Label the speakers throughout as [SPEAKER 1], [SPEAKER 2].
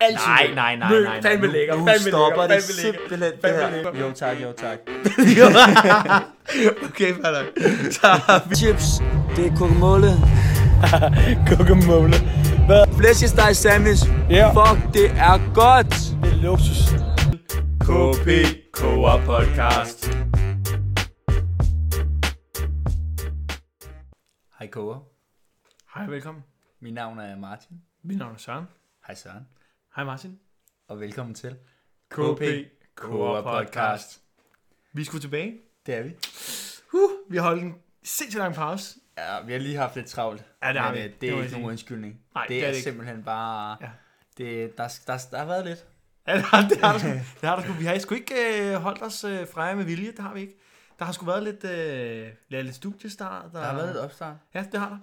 [SPEAKER 1] Altid
[SPEAKER 2] Nej,
[SPEAKER 1] lækker.
[SPEAKER 2] nej, nej,
[SPEAKER 1] Møl,
[SPEAKER 2] nej, nej.
[SPEAKER 1] Fandme
[SPEAKER 2] Nu-
[SPEAKER 1] lækker.
[SPEAKER 2] nu
[SPEAKER 1] fandme lækker,
[SPEAKER 2] stopper det
[SPEAKER 1] fandme lækker,
[SPEAKER 2] simpelthen, det
[SPEAKER 1] fandme
[SPEAKER 2] her.
[SPEAKER 1] lækker.
[SPEAKER 3] Jo tak, jo tak. okay, fair nok. Så har vi chips. Det er kokomåle.
[SPEAKER 4] Guacamole. Hvad?
[SPEAKER 3] Flæskesteg sandwich.
[SPEAKER 4] Ja.
[SPEAKER 3] Fuck, det er godt.
[SPEAKER 4] Det er luksus.
[SPEAKER 2] KP Koger Podcast.
[SPEAKER 3] Hej Koger.
[SPEAKER 1] Hej, velkommen.
[SPEAKER 3] Mit navn er Martin.
[SPEAKER 1] Mit navn er Søren.
[SPEAKER 3] Hej Søren.
[SPEAKER 1] Hej Martin.
[SPEAKER 3] Og velkommen til
[SPEAKER 1] KP Koger Podcast. Vi skulle tilbage.
[SPEAKER 3] Det er vi.
[SPEAKER 1] Uh, vi har holdt en sindssygt lang pause.
[SPEAKER 3] Ja, vi har lige haft lidt travlt.
[SPEAKER 1] Ja, det har
[SPEAKER 3] men,
[SPEAKER 1] vi.
[SPEAKER 3] øh,
[SPEAKER 1] Det
[SPEAKER 3] Det er
[SPEAKER 1] må jeg
[SPEAKER 3] ikke
[SPEAKER 1] sige.
[SPEAKER 3] nogen undskyldning.
[SPEAKER 1] Nej,
[SPEAKER 3] det,
[SPEAKER 1] det er
[SPEAKER 3] er,
[SPEAKER 1] det ikke.
[SPEAKER 3] simpelthen bare...
[SPEAKER 1] Ja.
[SPEAKER 3] Det, der, der, der har været lidt.
[SPEAKER 1] Ja, det har, det har, der sgu, det har der sgu. Vi har sgu ikke øh, holdt os øh, fra jer med vilje, det har vi ikke. Der har sgu været lidt, øh, ja, lidt studiestart.
[SPEAKER 3] Der har været lidt opstart.
[SPEAKER 1] Ja, det har der.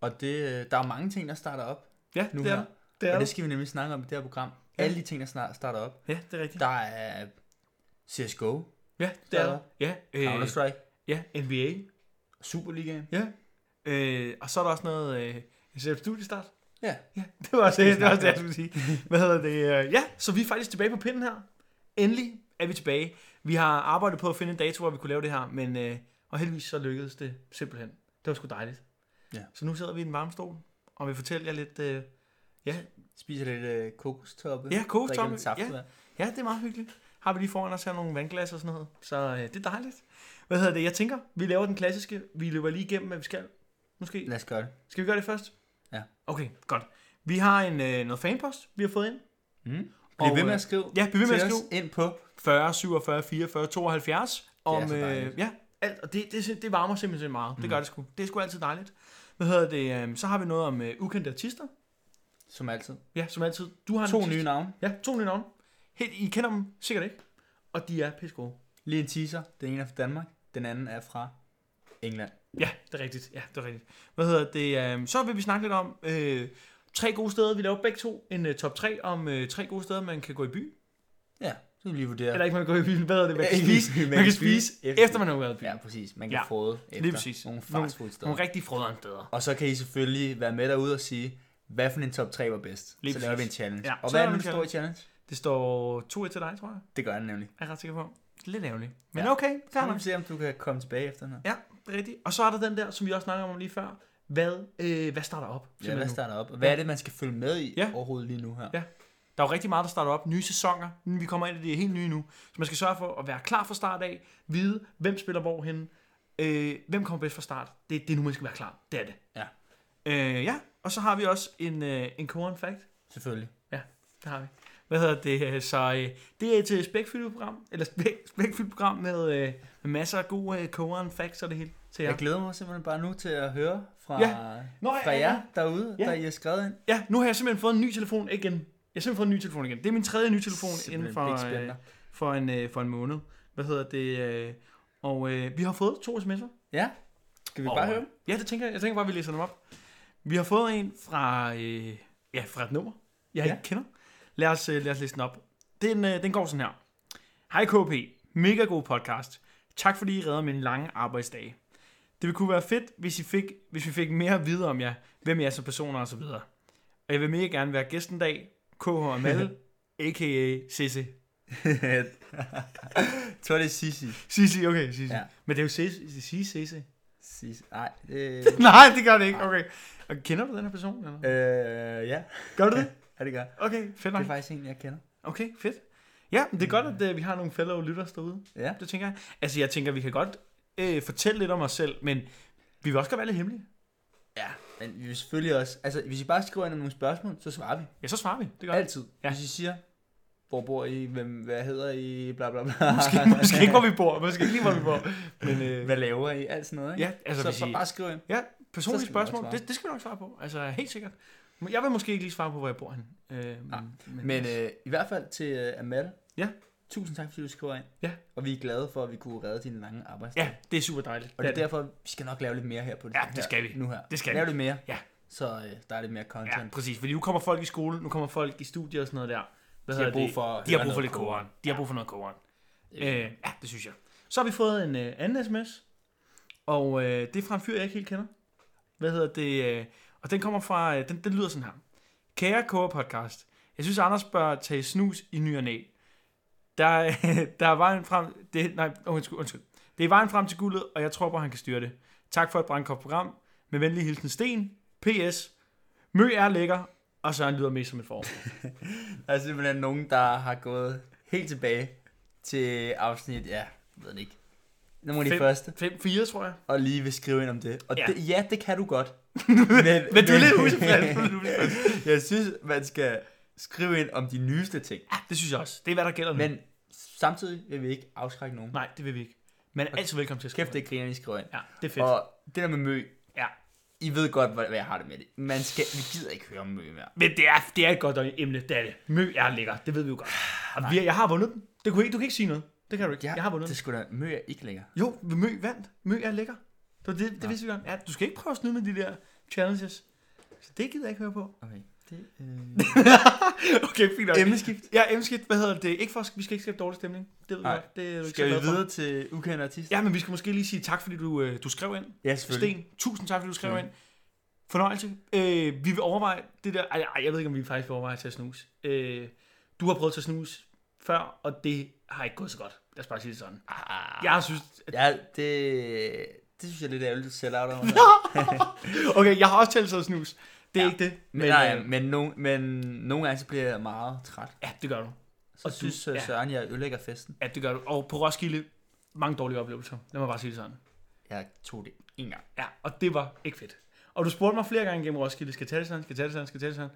[SPEAKER 3] Og det, øh, der er mange ting, der starter op.
[SPEAKER 1] Ja,
[SPEAKER 3] nu
[SPEAKER 1] det er
[SPEAKER 3] her.
[SPEAKER 1] der. Det er
[SPEAKER 3] og det
[SPEAKER 1] der.
[SPEAKER 3] skal vi nemlig snakke om i det her program.
[SPEAKER 1] Ja.
[SPEAKER 3] Alle de ting, der snart starter op.
[SPEAKER 1] Ja, det er rigtigt.
[SPEAKER 3] Der er CSGO,
[SPEAKER 1] Ja, det er
[SPEAKER 3] der.
[SPEAKER 1] der. Ja, øh,
[SPEAKER 3] Counter-Strike,
[SPEAKER 1] ja NBA.
[SPEAKER 3] Superligaen.
[SPEAKER 1] Ja. Øh, og så er der også noget øh, SF Studiestart.
[SPEAKER 3] Ja.
[SPEAKER 1] Ja, det var også det, det, var også det jeg skulle sige. Hvad hedder det? øh, Ja, så vi er faktisk tilbage på pinden her. Endelig er vi tilbage. Vi har arbejdet på at finde en dato, hvor vi kunne lave det her, men øh, og heldigvis så lykkedes det simpelthen. Det var sgu dejligt.
[SPEAKER 3] Ja.
[SPEAKER 1] Så nu sidder vi i en varm stol, og vi fortæller jer lidt... Øh, ja,
[SPEAKER 3] Spiser lidt øh, kokostoppe.
[SPEAKER 1] Ja, kokostoppe,
[SPEAKER 3] drikker lidt saft,
[SPEAKER 1] ja.
[SPEAKER 3] hva'?
[SPEAKER 1] ja, det er meget hyggeligt. Har vi lige foran os her nogle vandglas og sådan noget, så øh, det er dejligt. Hvad hedder det? Jeg tænker, vi laver den klassiske. Vi løber lige igennem, hvad vi skal. Måske.
[SPEAKER 3] Lad os gøre det.
[SPEAKER 1] Skal vi gøre det først?
[SPEAKER 3] Ja.
[SPEAKER 1] Okay, godt. Vi har en, øh, noget fanpost, vi har fået ind.
[SPEAKER 3] Mm.
[SPEAKER 1] Og,
[SPEAKER 3] Bliv ved med
[SPEAKER 1] øh,
[SPEAKER 3] at skrive
[SPEAKER 1] ja, bliv ved med
[SPEAKER 3] til
[SPEAKER 1] at
[SPEAKER 3] os
[SPEAKER 1] skrive.
[SPEAKER 3] ind på
[SPEAKER 1] 40, 47, 44, 72. Om,
[SPEAKER 3] så
[SPEAKER 1] øh,
[SPEAKER 3] dejligt. Mm.
[SPEAKER 1] ja, alt, og det, det, det varmer simpelthen meget. Det gør det sgu. Det er sgu altid dejligt. Hvad hedder det? Øh, så har vi noget om øh, ukendte artister.
[SPEAKER 3] Som altid.
[SPEAKER 1] Ja, som altid. Du har en
[SPEAKER 3] To
[SPEAKER 1] artist.
[SPEAKER 3] nye navne.
[SPEAKER 1] Ja, to nye navne. Helt, I kender dem sikkert ikke. Og de er pisse gode.
[SPEAKER 3] Lige en teaser. Den ene er fra Danmark. Den anden er fra England.
[SPEAKER 1] Ja, det er rigtigt. Ja, det er rigtigt. Hvad hedder det? øhm, Så vil vi snakke lidt om øh, tre gode steder. Vi laver begge to en øh, top 3 om øh, tre gode steder, man kan gå i by.
[SPEAKER 3] Ja, så kan vi lige vurdere.
[SPEAKER 1] Eller ikke, man kan gå i byen. Hvad hedder det? Man kan
[SPEAKER 3] Ikke i
[SPEAKER 1] spise,
[SPEAKER 3] byen,
[SPEAKER 1] man kan spise efter man har været i byen.
[SPEAKER 3] Ja, præcis. Man kan
[SPEAKER 1] Ja,
[SPEAKER 3] ja. frode efter
[SPEAKER 1] præcis.
[SPEAKER 3] nogle
[SPEAKER 1] Nogle-
[SPEAKER 3] fastfood steder.
[SPEAKER 1] Nogle rigtig frøderen steder.
[SPEAKER 3] Og så kan I selvfølgelig være med derude og sige, hvad for en top 3 var bedst.
[SPEAKER 1] Lige
[SPEAKER 3] så laver vi en
[SPEAKER 1] præcis.
[SPEAKER 3] challenge.
[SPEAKER 1] Ja,
[SPEAKER 3] og
[SPEAKER 1] så
[SPEAKER 3] hvad
[SPEAKER 1] laver
[SPEAKER 3] er
[SPEAKER 1] vi
[SPEAKER 3] den
[SPEAKER 1] en
[SPEAKER 3] store challenge?
[SPEAKER 1] Det står 2-1 til dig, tror jeg.
[SPEAKER 3] Det gør den nemlig.
[SPEAKER 1] Er jeg ret sikker på. Lidt ærgerligt. Men
[SPEAKER 3] Ja. Mm.
[SPEAKER 1] okay,
[SPEAKER 3] Så
[SPEAKER 1] fair
[SPEAKER 3] må
[SPEAKER 1] nok.
[SPEAKER 3] vi se, om du kan komme tilbage efter den her.
[SPEAKER 1] Ja, det er rigtigt. Og så er der den der, som vi også snakkede om lige før. Hvad, øh, hvad starter op?
[SPEAKER 3] Ja,
[SPEAKER 1] simpelthen
[SPEAKER 3] hvad
[SPEAKER 1] nu?
[SPEAKER 3] starter op? Og hvad er det, man skal følge med i
[SPEAKER 1] Ja.
[SPEAKER 3] ja. overhovedet lige nu her?
[SPEAKER 1] Ja. Der er jo rigtig meget, der starter op. Nye sæsoner. Mm, Vi kommer ind i det helt nye nu. Så man skal sørge for at være klar fra start af. Vide, hvem spiller hvorhen. Øh, hvem kommer bedst fra start. Det, det er nu, man skal være klar. Det er det.
[SPEAKER 3] Ja.
[SPEAKER 1] Øh, ja, og så har vi også en, øh, en core fact.
[SPEAKER 3] Selvfølgelig.
[SPEAKER 1] Ja, det har vi. Hvad hedder det? øh, Så øh, det er et øh, spækfyldt program, eller spæk, spækfyldt program med, øh, med masser af gode øh, koger facts og det hele til
[SPEAKER 3] Ja.
[SPEAKER 1] jer.
[SPEAKER 3] Jeg glæder mig simpelthen bare nu til at høre fra,
[SPEAKER 1] Ja.
[SPEAKER 3] ja.
[SPEAKER 1] Nå, ja,
[SPEAKER 3] fra
[SPEAKER 1] ja, ja.
[SPEAKER 3] jer derude,
[SPEAKER 1] Ja.
[SPEAKER 3] ja. der I har skrevet ind.
[SPEAKER 1] Ja, nu har jeg simpelthen fået en ny telefon igen. Jeg har simpelthen fået en ny telefon igen. Det er min tredje nye telefon
[SPEAKER 3] Simpelthen
[SPEAKER 1] inden for,
[SPEAKER 3] big
[SPEAKER 1] øh,
[SPEAKER 3] spender.
[SPEAKER 1] for, en, øh, for en måned. Hvad hedder det? Øh, og øh, vi har fået to sms'er.
[SPEAKER 3] Ja. Skal vi
[SPEAKER 1] Og,
[SPEAKER 3] bare
[SPEAKER 1] øh,
[SPEAKER 3] høre?
[SPEAKER 1] Ja, det tænker jeg. Jeg tænker bare, at vi læser dem op. Vi har fået en fra, øh, ja, fra et nummer, jeg ja.
[SPEAKER 3] Ja.
[SPEAKER 1] ikke kender. Lad os, øh, lad os læse den op. Den, øh, den går sådan her. Hej KP, mega god podcast. Tak fordi I redder min lange arbejdsdag. Det ville kunne være fedt, hvis, I fik, hvis vi fik mere at vide om jer, hvem I er som personer og så videre. Og jeg vil mega gerne være gæsten dag, KH og Mal, a.k.a. Sisse.
[SPEAKER 3] Jeg tror, det er Sissi.
[SPEAKER 1] Sisse, okay, Sisse. Ja.
[SPEAKER 3] Ja.
[SPEAKER 1] Men det er jo Sisse, Sisse, Sisse.
[SPEAKER 3] Sissi. Nej. Øh,
[SPEAKER 1] Nej, det gør det ikke, okay. Og kender du den her person? Eller?
[SPEAKER 3] øh, ja.
[SPEAKER 1] Gør du det?
[SPEAKER 3] ja, det gør jeg.
[SPEAKER 1] Okay, fedt
[SPEAKER 3] Det er
[SPEAKER 1] nok.
[SPEAKER 3] faktisk en, jeg kender.
[SPEAKER 1] Okay, fedt. Ja, men det er godt, at øh, vi har nogle fellow lytters derude.
[SPEAKER 3] Ja.
[SPEAKER 1] Det tænker jeg. Altså, jeg tænker, vi kan godt øh, fortælle lidt om os selv, men vi vil også godt være lidt hemmelige.
[SPEAKER 3] Ja, men vi vil selvfølgelig også... Altså, hvis I bare skriver ind om nogle spørgsmål, så svarer vi.
[SPEAKER 1] Ja, så svarer vi. Det gør vi.
[SPEAKER 3] Altid.
[SPEAKER 1] Ja.
[SPEAKER 3] Ja. Hvis I siger, hvor bor I, hvem, hvad hedder I, bla bla bla.
[SPEAKER 1] Måske, måske ikke, hvor vi bor. Måske ikke lige, hvor vi bor. Men øh,
[SPEAKER 3] Hvad laver I, alt sådan noget, ikke?
[SPEAKER 1] ja, altså,
[SPEAKER 3] så
[SPEAKER 1] hvis
[SPEAKER 3] så
[SPEAKER 1] I,
[SPEAKER 3] bare skriv ind.
[SPEAKER 1] ja,
[SPEAKER 3] så
[SPEAKER 1] personlige
[SPEAKER 3] skal vi nok
[SPEAKER 1] spørgsmål,
[SPEAKER 3] svare.
[SPEAKER 1] det, det skal vi nok svare på. Altså, helt sikkert. Men Jeg vil måske ikke lige svare på, hvor jeg bor han. Øh, men,
[SPEAKER 3] Men øh, i hvert fald til øh, Amal.
[SPEAKER 1] Ja.
[SPEAKER 3] Tusind tak, fordi du skriver ind.
[SPEAKER 1] Ja.
[SPEAKER 3] Og vi er glade for, at vi kunne redde din lange arbejdsdag.
[SPEAKER 1] ja, det er super dejligt.
[SPEAKER 3] Og det er derfor, vi skal nok lave lidt mere her på det
[SPEAKER 1] Ja,
[SPEAKER 3] her,
[SPEAKER 1] det skal vi.
[SPEAKER 3] Nu her.
[SPEAKER 1] Det skal
[SPEAKER 3] Lave
[SPEAKER 1] vi.
[SPEAKER 3] lidt mere.
[SPEAKER 1] Ja.
[SPEAKER 3] Så øh, der er lidt mere
[SPEAKER 1] Ja,
[SPEAKER 3] content.
[SPEAKER 1] præcis. Fordi nu kommer folk i skole, nu kommer folk i studiet og sådan noget der. Hvad
[SPEAKER 3] De har
[SPEAKER 1] hedder
[SPEAKER 3] brug
[SPEAKER 1] det?
[SPEAKER 3] for at
[SPEAKER 1] De har
[SPEAKER 3] høre
[SPEAKER 1] brug for
[SPEAKER 3] noget
[SPEAKER 1] lidt
[SPEAKER 3] koran.
[SPEAKER 1] koran. De har brug for noget koran. Øh, ja, det synes jeg. Så har vi fået en øh, anden sms. Og øh, det er fra en fyr, jeg ikke helt kender. Hvad hedder det? Øh, og den kommer fra... Øh, den, den lyder sådan her. Kære Kåre Podcast. Jeg synes, Anders bør tage snus i ny og næ. Der, der er vejen frem... Det, nej, oh, undskyld, undskyld. Det er vejen frem til guldet, og jeg tror på, han kan styre det. Tak for et brandkomt program. Med venlig hilsen Sten. P.S. Mø er lækker, og Søren lyder mest som et forår.
[SPEAKER 3] Der er simpelthen nogen, der har gået helt tilbage til afsnit, ja, jeg ved det ikke. Nogle af de
[SPEAKER 1] Fem.
[SPEAKER 3] første.
[SPEAKER 1] 5-4, tror jeg.
[SPEAKER 3] Og lige vil skrive ind om det. Og
[SPEAKER 1] Ja.
[SPEAKER 3] ja, det, ja det kan du godt. men,
[SPEAKER 1] Men du er lidt utilfreds. Du er lidt utilfreds.
[SPEAKER 3] jeg synes, man skal skrive ind om de nyeste ting.
[SPEAKER 1] Det synes jeg også. Det er, hvad der gælder nu. Men...
[SPEAKER 3] Men samtidig vil vi ikke afskrække nogen.
[SPEAKER 1] Nej, det vil vi ikke. Men altid velkommen til at skrive.
[SPEAKER 3] Kæft, det griner, I skriver ind.
[SPEAKER 1] Ja, det er fedt. Og...
[SPEAKER 3] Og det der med mø,
[SPEAKER 1] Ja.
[SPEAKER 3] I ved godt, hvad hvad jeg har det med det. Man skal, vi gider ikke høre om mø mere.
[SPEAKER 1] Men det er, det er et godt emne, det er det. Mø er lækker, det ved vi jo godt. Og vi, jeg har vundet den. Det kunne ikke, du kan ikke sige noget. Det kan du ikke. Ja, jeg har vundet
[SPEAKER 3] Det
[SPEAKER 1] den.
[SPEAKER 3] skulle da, mø er ikke længere.
[SPEAKER 1] Jo, Mø vandt. Mø er lækker. Det, var det, det vidste vi godt. Ja, du skal ikke prøve at snyde med de der challenges. Så det gider jeg ikke høre på.
[SPEAKER 3] Okay. Det, øh...
[SPEAKER 1] Okay, fint nok.
[SPEAKER 3] Emneskift.
[SPEAKER 1] Ja, emneskift, hvad hedder det? Ikke for, vi skal ikke skabe dårlig stemning. Det ved
[SPEAKER 3] Nej.
[SPEAKER 1] jeg godt. Det er du ikke
[SPEAKER 3] Skal
[SPEAKER 1] så
[SPEAKER 3] vi
[SPEAKER 1] glad for.
[SPEAKER 3] videre til ukendte artister?
[SPEAKER 1] Ja, men vi skal måske lige sige tak, fordi du, øh, du skrev ind.
[SPEAKER 3] ja
[SPEAKER 1] Sten, tusind tak, fordi du skrev
[SPEAKER 3] Mm.
[SPEAKER 1] ind. Fornøjelse. Øh, vi vil overveje det der... Ej, ej, jeg ved ikke, om vi faktisk vil overveje at tage snus. Øh, du har prøvet at tage snus før, og det har ikke gået så godt. Lad os bare sige det sådan.
[SPEAKER 3] Ah,
[SPEAKER 1] Jeg synes... At,
[SPEAKER 3] ja, det, det synes jeg er lidt ærgerligt selv out over.
[SPEAKER 1] okay, jeg har også selv taget snus. Det er ja,
[SPEAKER 3] Ja.
[SPEAKER 1] ikke det.
[SPEAKER 3] men, nej,
[SPEAKER 1] øh,
[SPEAKER 3] men, no, men nogle gange så bliver jeg meget træt.
[SPEAKER 1] ja, det gør du.
[SPEAKER 3] Så og synes du,
[SPEAKER 1] ja.
[SPEAKER 3] ja. Søren, jeg ødelægger festen.
[SPEAKER 1] Ja, det gør du. Og på Roskilde, mange dårlige oplevelser. Lad mig bare sige det sådan.
[SPEAKER 3] Jeg tog det en gang.
[SPEAKER 1] Ja, og det var ikke fedt. Og du spurgte mig flere gange gennem Roskilde, skal jeg tage det sådan, skal jeg tage det sådan, skal jeg tage det sådan?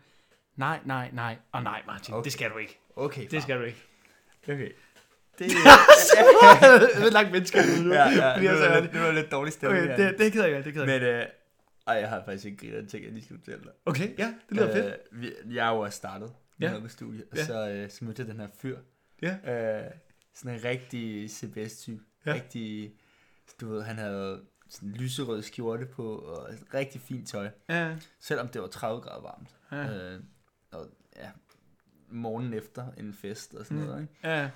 [SPEAKER 1] Nej, nej, nej, og nej, Martin, okay.
[SPEAKER 3] Okay.
[SPEAKER 1] det skal du ikke.
[SPEAKER 3] Okay,
[SPEAKER 1] Det skal du ikke.
[SPEAKER 3] Okay. Det,
[SPEAKER 1] Jeg ved langt mennesker.
[SPEAKER 3] ja, ja,
[SPEAKER 1] Fordi
[SPEAKER 3] det,
[SPEAKER 1] jeg
[SPEAKER 3] var
[SPEAKER 1] sagde,
[SPEAKER 3] lidt, det var lidt dårlig stemning.
[SPEAKER 1] Okay, det, det gider jeg, det gider jeg.
[SPEAKER 3] Men, øh, ej, jeg har faktisk ikke grinet en ting, jeg lige skulle fortælle dig.
[SPEAKER 1] Okay, ja, det lyder fedt.
[SPEAKER 3] Øh, vi, jeg er jo også startet
[SPEAKER 1] Ja.
[SPEAKER 3] ja. med studiet, og
[SPEAKER 1] Ja.
[SPEAKER 3] så, øh, så mødte jeg den her fyr.
[SPEAKER 1] Ja.
[SPEAKER 3] Øh, sådan en rigtig CBS-type.
[SPEAKER 1] Ja.
[SPEAKER 3] Ja. Rigtig, du ved, han havde sådan en lyserød skjorte på, og et rigtig fint tøj.
[SPEAKER 1] Ja,
[SPEAKER 3] Selvom det var 30 grader varmt.
[SPEAKER 1] ja,
[SPEAKER 3] Øh, og ja, morgenen efter en fest og sådan
[SPEAKER 1] Mm.
[SPEAKER 3] mm. noget. Ikke?
[SPEAKER 1] ja.
[SPEAKER 3] Øh,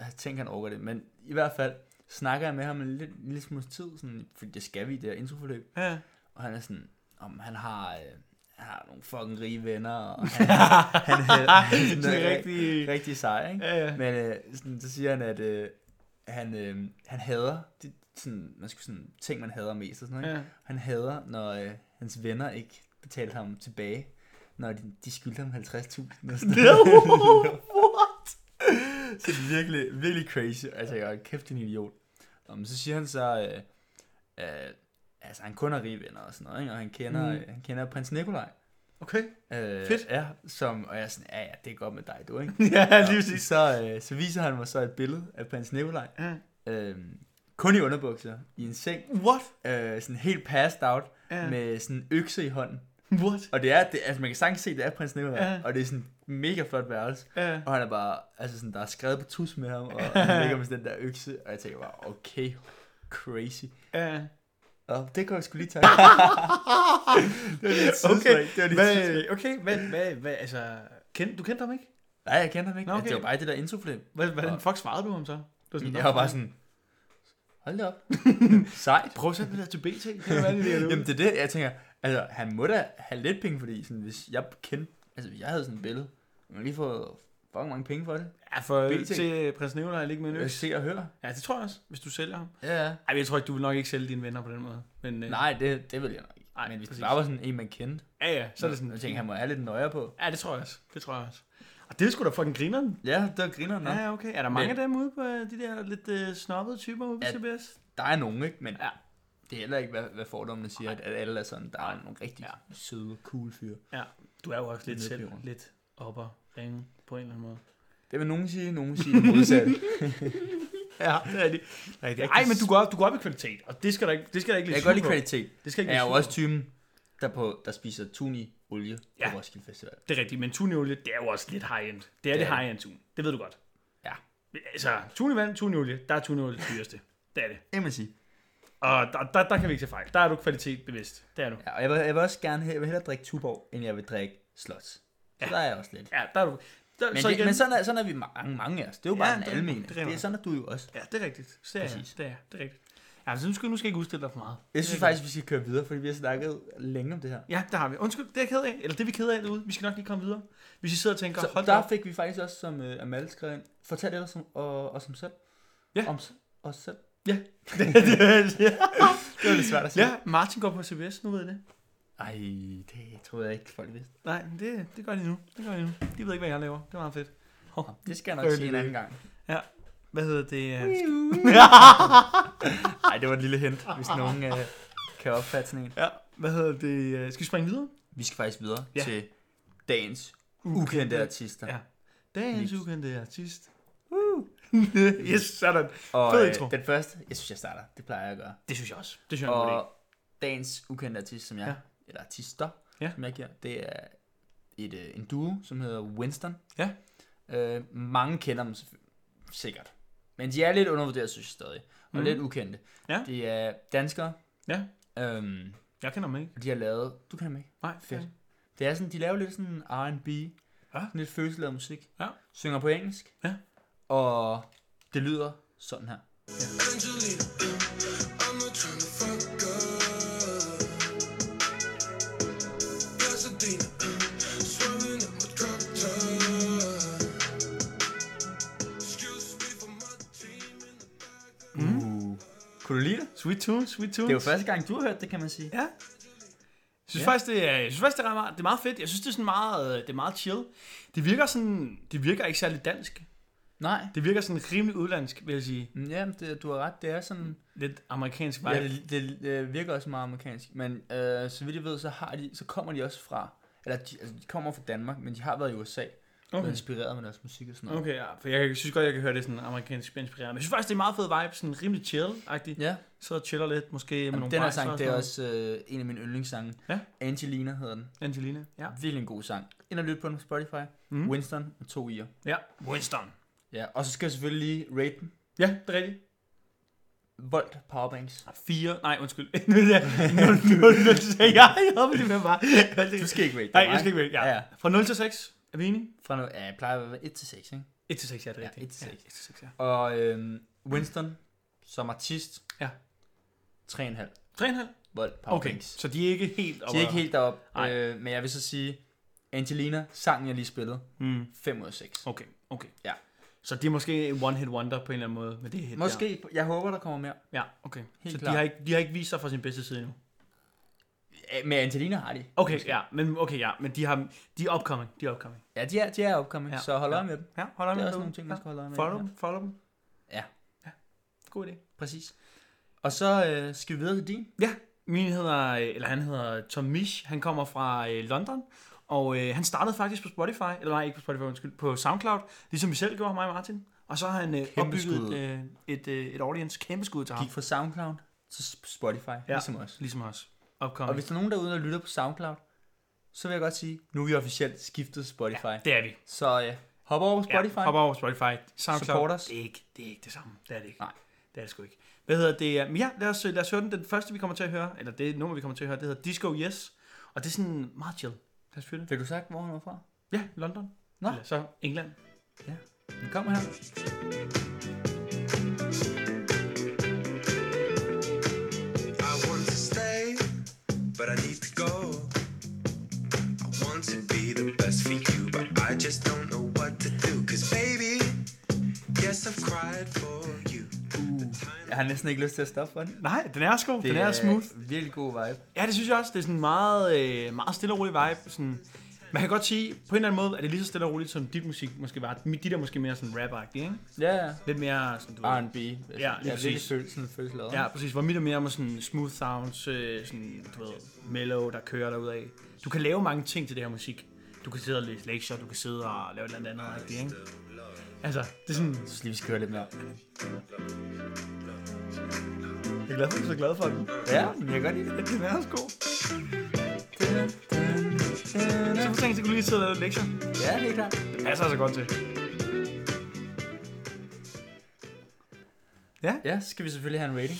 [SPEAKER 3] Jeg tænker, han overgår det. Men i hvert fald snakker jeg med ham en lidt, en lille smule tid, sådan, fordi det skal vi i det her introforløb.
[SPEAKER 1] ja.
[SPEAKER 3] Og han er sådan, om han har, øh, han har nogle fucking rige venner, og han, han, er, han er
[SPEAKER 1] Sådan
[SPEAKER 3] sådan
[SPEAKER 1] en
[SPEAKER 3] rigtig,
[SPEAKER 1] rigtig...
[SPEAKER 3] rigtig sej, ikke?
[SPEAKER 1] Ja, ja.
[SPEAKER 3] Men øh, sådan, så siger han, at øh, han, øh, han hader, det, sådan, man skulle sådan, ting man hader mest og sådan noget, ikke?
[SPEAKER 1] ja.
[SPEAKER 3] Han hader, når øh, hans venner ikke betaler ham tilbage, når de, de skylder ham 50.000 og sådan
[SPEAKER 1] No,
[SPEAKER 3] what? så det er virkelig, virkelig crazy. Altså, jeg er kæft en idiot. Og så siger han så, øh, øh, altså han kun har rige venner og sådan noget, ikke? og han kender,
[SPEAKER 1] Mm.
[SPEAKER 3] mm. han kender prins Nikolaj.
[SPEAKER 1] Okay.
[SPEAKER 3] Øh,
[SPEAKER 1] Fedt.
[SPEAKER 3] Ja, som, og jeg er sådan, ja, ja, det er godt med dig, du, ikke?
[SPEAKER 1] Ja, lige
[SPEAKER 3] Og
[SPEAKER 1] præcis.
[SPEAKER 3] Så, øh, så viser han mig så et billede af prins Nikolaj,
[SPEAKER 1] Ja.
[SPEAKER 3] øh, kun i underbukser, i en seng,
[SPEAKER 1] What?
[SPEAKER 3] øh, sådan helt passed out,
[SPEAKER 1] Ja.
[SPEAKER 3] med sådan en økse i hånden.
[SPEAKER 1] What?
[SPEAKER 3] Og det er, det, altså man kan sagtens se, det er prins Nikolaj,
[SPEAKER 1] Ja.
[SPEAKER 3] og det er sådan mega flot værelse.
[SPEAKER 1] Ja.
[SPEAKER 3] Og han er bare, altså sådan, der er skrevet på tus med ham, og han ligger med sådan den der økse, og jeg tænker bare, okay, crazy.
[SPEAKER 1] Ja.
[SPEAKER 3] Og det kan jeg sgu lige tage. det var lidt
[SPEAKER 1] Okay,
[SPEAKER 3] tidsspring, det var lidt tidsspring.
[SPEAKER 1] Hvad, okay, hvad, hvad, hvad, altså... Kend, du kendte ham ikke?
[SPEAKER 3] Nej, jeg kender ham ikke.
[SPEAKER 1] Nå,
[SPEAKER 3] Okay.
[SPEAKER 1] okay.
[SPEAKER 3] Det var bare det der introflip.
[SPEAKER 1] Hvad, hvordan fuck svarede du ham så? Du var
[SPEAKER 3] Jeg var bare sådan, hold da op. Sejt.
[SPEAKER 1] Prøv at sætte det der til BT. Det kan være, det er
[SPEAKER 3] Jamen det er det, jeg tænker, altså han må da have lidt penge, fordi sådan, hvis jeg kendte, altså hvis jeg havde sådan et billede, man har lige fået fucking mange penge for det.
[SPEAKER 1] Ja, for
[SPEAKER 3] BT.
[SPEAKER 1] til prins Nikolaj ligge med en
[SPEAKER 3] Jeg
[SPEAKER 1] øks.
[SPEAKER 3] se og høre.
[SPEAKER 1] Ja, det tror jeg også, hvis du sælger ham.
[SPEAKER 3] Ja, ja.
[SPEAKER 1] Ej, men jeg tror ikke, du vil nok ikke sælge dine venner på den måde. Men, øh,
[SPEAKER 3] Nej, det, det vil jeg nok ikke.
[SPEAKER 1] Ej,
[SPEAKER 3] Ej, men hvis
[SPEAKER 1] præcis.
[SPEAKER 3] det bare var sådan en, man kendte,
[SPEAKER 1] Ja, ja, så er det sådan.
[SPEAKER 3] Jeg tænker, han må have lidt nøje på.
[SPEAKER 1] Ja, det tror jeg også. Det tror jeg også. Og det er sgu da fucking grineren.
[SPEAKER 3] Ja, der griner nok.
[SPEAKER 1] Ja,
[SPEAKER 3] Ja.
[SPEAKER 1] ja, okay. Er der mange
[SPEAKER 3] Men-
[SPEAKER 1] af dem ude på øh, de der lidt øh, snobbede typer ude på
[SPEAKER 3] Ja.
[SPEAKER 1] CBS?
[SPEAKER 3] Der er nogen, ikke? Men
[SPEAKER 1] Ja.
[SPEAKER 3] ja. det er heller ikke, hvad, hvad fordommene siger, at, at alle er sådan. Der er nogle rigtig
[SPEAKER 1] Ja.
[SPEAKER 3] ja. søde, cool fyre.
[SPEAKER 1] Ja, du er jo også lidt
[SPEAKER 3] Lidt
[SPEAKER 1] selv
[SPEAKER 3] nedpeberet.
[SPEAKER 1] lidt op og ringe på en eller anden måde.
[SPEAKER 3] Det vil nogen sige, nogen sige det modsatte.
[SPEAKER 1] Ja, det er det. Nej, men du går, op, du går op i kvalitet, og det skal der ikke, det skal der ikke
[SPEAKER 3] jeg
[SPEAKER 1] lidt
[SPEAKER 3] kan godt lide kvalitet.
[SPEAKER 1] Det skal ikke
[SPEAKER 3] Jeg er
[SPEAKER 1] blive
[SPEAKER 3] jo
[SPEAKER 1] sur
[SPEAKER 3] også typen, der, på, der spiser tuni-olie
[SPEAKER 1] Ja.
[SPEAKER 3] ja. på Roskilde Festival.
[SPEAKER 1] på. Det er rigtigt, men tuneolie, det er jo også lidt high-end. Det er det,
[SPEAKER 3] Det er det.
[SPEAKER 1] high-end tun. Det ved du godt.
[SPEAKER 3] Ja.
[SPEAKER 1] Altså, tunevand, tuneolie, der er tuneolie det dyreste. Det er det.
[SPEAKER 3] Det må jeg sige.
[SPEAKER 1] Og der, der, der kan vi ikke se fejl. Der er du kvalitet bevidst. Det er du.
[SPEAKER 3] Ja, og jeg vil, jeg vil også gerne jeg vil hellere drikke Tuborg, end jeg vil drikke Slots. Så
[SPEAKER 1] Ja.
[SPEAKER 3] ja. der er jeg også lidt.
[SPEAKER 1] Ja, der er du. Der,
[SPEAKER 3] Men, så det, men sådan, er, sådan er vi mange, mange af os. Det er jo
[SPEAKER 1] Ja,
[SPEAKER 3] bare ja,
[SPEAKER 1] det er-
[SPEAKER 3] en almen.
[SPEAKER 1] det er
[SPEAKER 3] Det er
[SPEAKER 1] rigtigt.
[SPEAKER 3] sådan, at du er jo også.
[SPEAKER 1] Ja, det er rigtigt. Det er, jeg.
[SPEAKER 3] Præcis.
[SPEAKER 1] det er, jeg. det er rigtigt. altså, nu skal, nu skal jeg ikke udstille dig for meget.
[SPEAKER 3] Jeg synes faktisk, vi skal køre videre, fordi vi har snakket længe om det her.
[SPEAKER 1] Ja, det har vi. Undskyld, det er jeg ked af. Eller det er vi ked af derude. Vi skal nok lige komme videre. Hvis I sidder og tænker,
[SPEAKER 3] Så
[SPEAKER 1] hold da
[SPEAKER 3] der
[SPEAKER 1] op.
[SPEAKER 3] fik vi faktisk også, som uh, Amal skrev ind, fortæl ellers om, og, os om selv.
[SPEAKER 1] Ja.
[SPEAKER 3] Om s- os selv.
[SPEAKER 1] ja.
[SPEAKER 3] Det var lidt svært at sige.
[SPEAKER 1] ja, Martin går på CBS, nu ved I det.
[SPEAKER 3] Ej, det troede jeg ikke, folk vidste.
[SPEAKER 1] Nej, men det, det gør de nu. Det gør de nu. De ved ikke, hvad jeg laver. Det var meget fedt.
[SPEAKER 3] Nå, det skal jeg nok
[SPEAKER 1] Følg
[SPEAKER 3] sige en
[SPEAKER 1] det.
[SPEAKER 3] anden gang.
[SPEAKER 1] Hvad hedder det? øh,
[SPEAKER 3] Nej, det var et lille hint, hvis nogen uh, kan opfatte sådan en.
[SPEAKER 1] Ja, hvad hedder det? øh, Skal vi springe videre?
[SPEAKER 3] Vi skal faktisk videre
[SPEAKER 1] Ja.
[SPEAKER 3] ja. til dagens ukendte artister.
[SPEAKER 1] Ja. Dagens
[SPEAKER 3] Niks.
[SPEAKER 1] ukendte artist. yes, sådan.
[SPEAKER 3] Og
[SPEAKER 1] Fed
[SPEAKER 3] øh,
[SPEAKER 1] intro.
[SPEAKER 3] den første, jeg synes, jeg starter. Det plejer jeg at gøre.
[SPEAKER 1] Det synes jeg også. Det synes jeg er en god idé.
[SPEAKER 3] Og dagens ukendte artist, som jeg,
[SPEAKER 1] Ja.
[SPEAKER 3] ja. eller artister,
[SPEAKER 1] Ja.
[SPEAKER 3] ja. som jeg giver, det er et, øh, en duo, som hedder Winston.
[SPEAKER 1] Ja.
[SPEAKER 3] Øh, mange kender dem selvfø- sikkert. Men de er lidt undervurderet, synes jeg stadig. Og
[SPEAKER 1] Mhm.
[SPEAKER 3] mm. lidt ukendte.
[SPEAKER 1] Ja.
[SPEAKER 3] De er danskere.
[SPEAKER 1] Ja.
[SPEAKER 3] Øhm,
[SPEAKER 1] Jeg kender mig ikke.
[SPEAKER 3] og de har lavet... Du kender dem ikke?
[SPEAKER 1] Nej,
[SPEAKER 3] Fedt.
[SPEAKER 1] okay.
[SPEAKER 3] Det er sådan, de laver lidt sådan R&B.
[SPEAKER 1] Ja.
[SPEAKER 3] Sådan lidt følelsesladet musik.
[SPEAKER 1] Ja.
[SPEAKER 3] Synger på engelsk.
[SPEAKER 1] Ja.
[SPEAKER 3] Og det lyder sådan her.
[SPEAKER 4] Angelina, I'm not tryna fuck up. Pasadena, swerving in my cocktail. Excuse me for my team in the
[SPEAKER 3] Uh. Kunne du lide det?
[SPEAKER 1] Sweet tunes, sweet tunes.
[SPEAKER 3] Det er jo første gang, du har hørt det, kan man sige.
[SPEAKER 1] Ja. Jeg synes, ja.
[SPEAKER 3] Ja.
[SPEAKER 1] faktisk, det er, jeg synes faktisk, det er, ret meget, det er meget fedt. Jeg synes, det er, sådan meget, øh, det er meget chill. Det virker, sådan, det virker ikke særlig dansk.
[SPEAKER 3] Nej.
[SPEAKER 1] Det virker sådan rimelig udlandsk, vil jeg sige.
[SPEAKER 3] Mm, Ja, det, du har ret. Det er sådan...
[SPEAKER 1] Lidt amerikansk vibe.
[SPEAKER 3] Ja, det, det, det virker også meget amerikansk. Men øh, så vidt jeg ved, så, har de, så kommer de også fra... Eller de, altså, de kommer fra Danmark, men de har været i USA. Okay. Og
[SPEAKER 1] okay.
[SPEAKER 3] inspireret med deres musik og sådan noget.
[SPEAKER 1] okay, ja. For jeg synes godt, jeg kan høre det sådan amerikansk inspireret. Men jeg synes faktisk, det er meget fed vibe. Sådan rimelig chill-agtigt. Ja.
[SPEAKER 3] Ja,
[SPEAKER 1] Så og chiller lidt, måske med
[SPEAKER 3] Jamen,
[SPEAKER 1] nogle
[SPEAKER 3] den her
[SPEAKER 1] bajser og
[SPEAKER 3] sang, det
[SPEAKER 1] sådan
[SPEAKER 3] er
[SPEAKER 1] noget.
[SPEAKER 3] også øh, en af mine yndlingssange.
[SPEAKER 1] Ja.
[SPEAKER 3] Angelina hedder den.
[SPEAKER 1] Angelina. Ja.
[SPEAKER 3] Virkelig en god sang. Ind og lyt på den på Spotify.
[SPEAKER 1] Mhm.
[SPEAKER 3] Mm. Winston med to i'er.
[SPEAKER 1] Ja. Winston.
[SPEAKER 3] Ja, og så skal jeg selvfølgelig lige rate den.
[SPEAKER 1] Ja, det er rigtigt.
[SPEAKER 3] Volt Powerbanks.
[SPEAKER 1] 4, nej undskyld. 0, 0, 0, sagde jeg. Jeg havde det med bare.
[SPEAKER 3] Du skal ikke rate
[SPEAKER 1] Nej, jeg skal ikke vælge. Ja.
[SPEAKER 3] Ja, ja.
[SPEAKER 1] Fra 0 til 6 er vi enige?
[SPEAKER 3] Fra nu, ja, jeg plejer at være 1 til 6, ikke?
[SPEAKER 1] 1 til 6, ja, det er
[SPEAKER 3] Ja,
[SPEAKER 1] rigtigt.
[SPEAKER 3] et til seks.
[SPEAKER 1] 1 til 6, ja.
[SPEAKER 3] Og øhm, Winston som artist.
[SPEAKER 1] Ja.
[SPEAKER 3] 3,5
[SPEAKER 1] 3,5?
[SPEAKER 3] volt
[SPEAKER 1] Okay,
[SPEAKER 3] powerbanks.
[SPEAKER 1] så de er ikke helt
[SPEAKER 3] De er ikke helt derop,
[SPEAKER 1] Nej.
[SPEAKER 3] øh, men jeg vil så sige, Angelina, sangen jeg lige spillede,
[SPEAKER 1] Mm.
[SPEAKER 3] 5 ud af 6.
[SPEAKER 1] Okay, okay.
[SPEAKER 3] Ja.
[SPEAKER 1] Så det er måske en one-hit wonder på en eller anden måde med det hit Der.
[SPEAKER 3] Måske, jeg håber, der kommer mere.
[SPEAKER 1] Ja, okay.
[SPEAKER 3] Helt
[SPEAKER 1] så de
[SPEAKER 3] klart.
[SPEAKER 1] har, ikke, de har ikke vist sig fra sin bedste side endnu.
[SPEAKER 3] Ja, Med Angelina har de.
[SPEAKER 1] Okay, ja, men, okay, ja, men de, har, de er upcoming. De er upcoming.
[SPEAKER 3] Ja, de er, de er opkommet,
[SPEAKER 1] Ja,
[SPEAKER 3] ja. så hold
[SPEAKER 1] ja.
[SPEAKER 3] øje med dem.
[SPEAKER 1] Ja, hold øje
[SPEAKER 3] Det
[SPEAKER 1] med
[SPEAKER 3] er også
[SPEAKER 1] dem derude.
[SPEAKER 3] nogle ting, man
[SPEAKER 1] Ja.
[SPEAKER 3] skal holde øje med.
[SPEAKER 1] Follow
[SPEAKER 3] Ja.
[SPEAKER 1] dem, follow dem.
[SPEAKER 3] Ja.
[SPEAKER 1] ja. God idé.
[SPEAKER 3] Præcis. Og så øh, skal vi videre til din.
[SPEAKER 1] Ja, min hedder, øh, eller han hedder Tom Misch, han kommer fra øh, London, og øh, han startede faktisk på Spotify, eller nej, ikke på Spotify, undskyld, på SoundCloud, ligesom vi selv gjorde, mig og Martin. Og så har han øh,
[SPEAKER 3] Kæmpe
[SPEAKER 1] opbygget
[SPEAKER 3] skud.
[SPEAKER 1] øh, et, øh, et audience, kæmpe skud til ham,
[SPEAKER 3] Gik fra SoundCloud til Sp- Spotify, ja. ligesom os.
[SPEAKER 1] ligesom os.
[SPEAKER 3] Og
[SPEAKER 1] Upcoming.
[SPEAKER 3] hvis der er nogen derude, der lytter på SoundCloud, så vil jeg godt sige, nu er vi officielt skiftet til Spotify. Ja.
[SPEAKER 1] Det er vi.
[SPEAKER 3] Så øh, hop over på Spotify.
[SPEAKER 1] Ja, hop over på Spotify. SoundCloud.
[SPEAKER 3] Support os.
[SPEAKER 1] Det er, ikke, det er ikke det samme. Det er det ikke.
[SPEAKER 3] Nej.
[SPEAKER 1] Det er det sgu ikke. Hvad hedder det? Men ja, lad os, lad os høre den. Den første, vi kommer til at høre, eller det nummer, vi kommer til at høre, det hedder Disco Yes. Og det er sådan meget chill. Lad os fyre det.
[SPEAKER 3] Fik du sagt, hvor han var fra?
[SPEAKER 1] Ja, London.
[SPEAKER 3] Nå.
[SPEAKER 1] Eller så England.
[SPEAKER 3] Ja. Den kommer her.
[SPEAKER 4] I want to stay, but I need to go. I want to be the best for you, but I just don't know what to do. Cause baby, yes, I've cried for you. The time
[SPEAKER 3] Jeg har næsten ikke lyst til at stoppe for den.
[SPEAKER 1] Nej, den er sgu. Den er smooth.
[SPEAKER 3] Virkelig god vibe.
[SPEAKER 1] Ja, det synes jeg også. Det er sådan en meget, øh, meget stille og rolig vibe. Sådan, man kan godt sige, på en eller anden måde, at det er lige så stille og roligt, som dit musik måske var. Mit- Dit er måske mere sådan rap ikke?
[SPEAKER 3] Ja, ja.
[SPEAKER 1] Lidt mere sådan, du ved-
[SPEAKER 3] R&B.
[SPEAKER 1] Ja, lige
[SPEAKER 3] Altså, virkelig
[SPEAKER 1] præcis.
[SPEAKER 3] følelsen følelsen
[SPEAKER 1] Ja, præcis. Hvor mit er mere med sådan smooth sounds, øh, sådan, du ved, mellow, der kører derudad. Du kan lave mange ting til det her musik. Du kan sidde og læse lektier, du kan sidde og lave et eller andet andet, ikke? Altså, det er sådan...
[SPEAKER 3] Jeg synes lige, vi skal høre lidt mere.
[SPEAKER 1] Jeg er glad for, at du er så glad for den.
[SPEAKER 3] Ja, men jeg kan godt lide det.
[SPEAKER 1] Den er også god. Så for tænkt, så kunne du lige sidde og lave lektier.
[SPEAKER 3] Ja, det er klart.
[SPEAKER 1] Det passer altså godt til.
[SPEAKER 3] Ja, så skal vi selvfølgelig have en rating.